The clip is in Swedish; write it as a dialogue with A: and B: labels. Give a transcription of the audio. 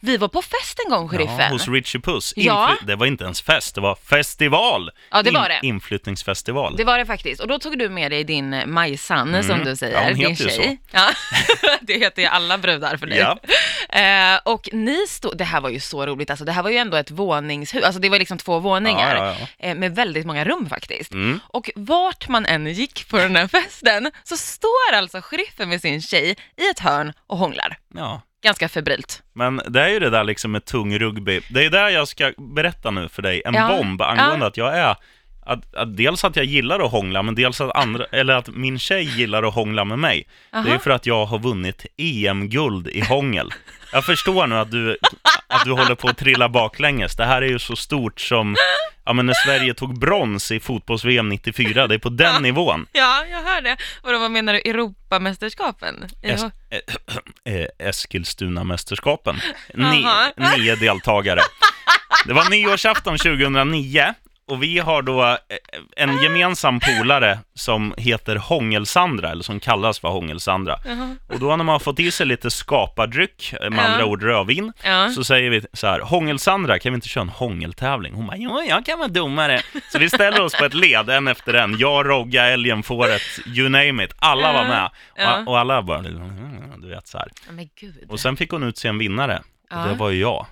A: Vi var på fest en gång, sheriffen.
B: Ja, hos Richie Puss. Infly-
A: Ja.
B: Det var inte ens fest, det var festival.
A: Ja, det var det.
B: Inflyttningsfestival.
A: Det var det faktiskt. Och då tog du med dig din eh, Majsan, som du säger,
B: Mm. Ja, hon
A: din
B: heter ju
A: tjej. Ja. det heter ju alla brudar för dig.
B: Ja.
A: Eh, och ni stod, det här var ju så roligt, alltså det här var ju ändå ett våningshus, alltså det var liksom två våningar
B: Ja, ja, Mm.
A: eh, med väldigt många rum faktiskt. Och vart man än gick på den här festen så står alltså sheriffen med sin tjej i ett hörn och hånglar.
B: Ja.
A: Ganska febrilt.
B: Men det är ju det där liksom med tung rugby. Det är där jag ska berätta nu för dig, en
A: Ja.
B: bomb angående att jag är att, att dels att jag gillar att hångla, men dels att, andra, eller att min tjej gillar att hångla med mig. Det är ju för att jag har vunnit EM-guld i hångel. Jag förstår nu att du, att du håller på att trilla baklänges. Det här är ju så stort som ja, men när Sverige tog brons i fotbolls-VM 94. Det är på den nivån.
A: Ja, jag hör det. Vadå, vad menar du, Europamästerskapen?
B: Es- eh, Eskilstuna-mästerskapen. Ni,
A: Jaha.
B: nio deltagare. Det var nyårsafton 2009 och vi har då eh, en gemensam polare som heter Hångelsandra, eller som kallas för Hångelsandra. Och då när man har fått i sig lite skapardryck, eh, med
A: Ja.
B: andra ord rödvin,
A: Ja.
B: så säger vi så här, Hångelsandra, kan vi inte köra en hångeltävling? Hon bara, jo, jag kan vara domare. Så vi ställer oss på ett led, en efter en. Jag, Rogga, Älgen, Fåret, you name it. Alla var med.
A: Ja.
B: Och, och alla bara, mm, du vet så här.
A: Ja, Men gud.
B: Och sen fick hon utse en vinnare.
A: Ja.
B: Och det var ju jag.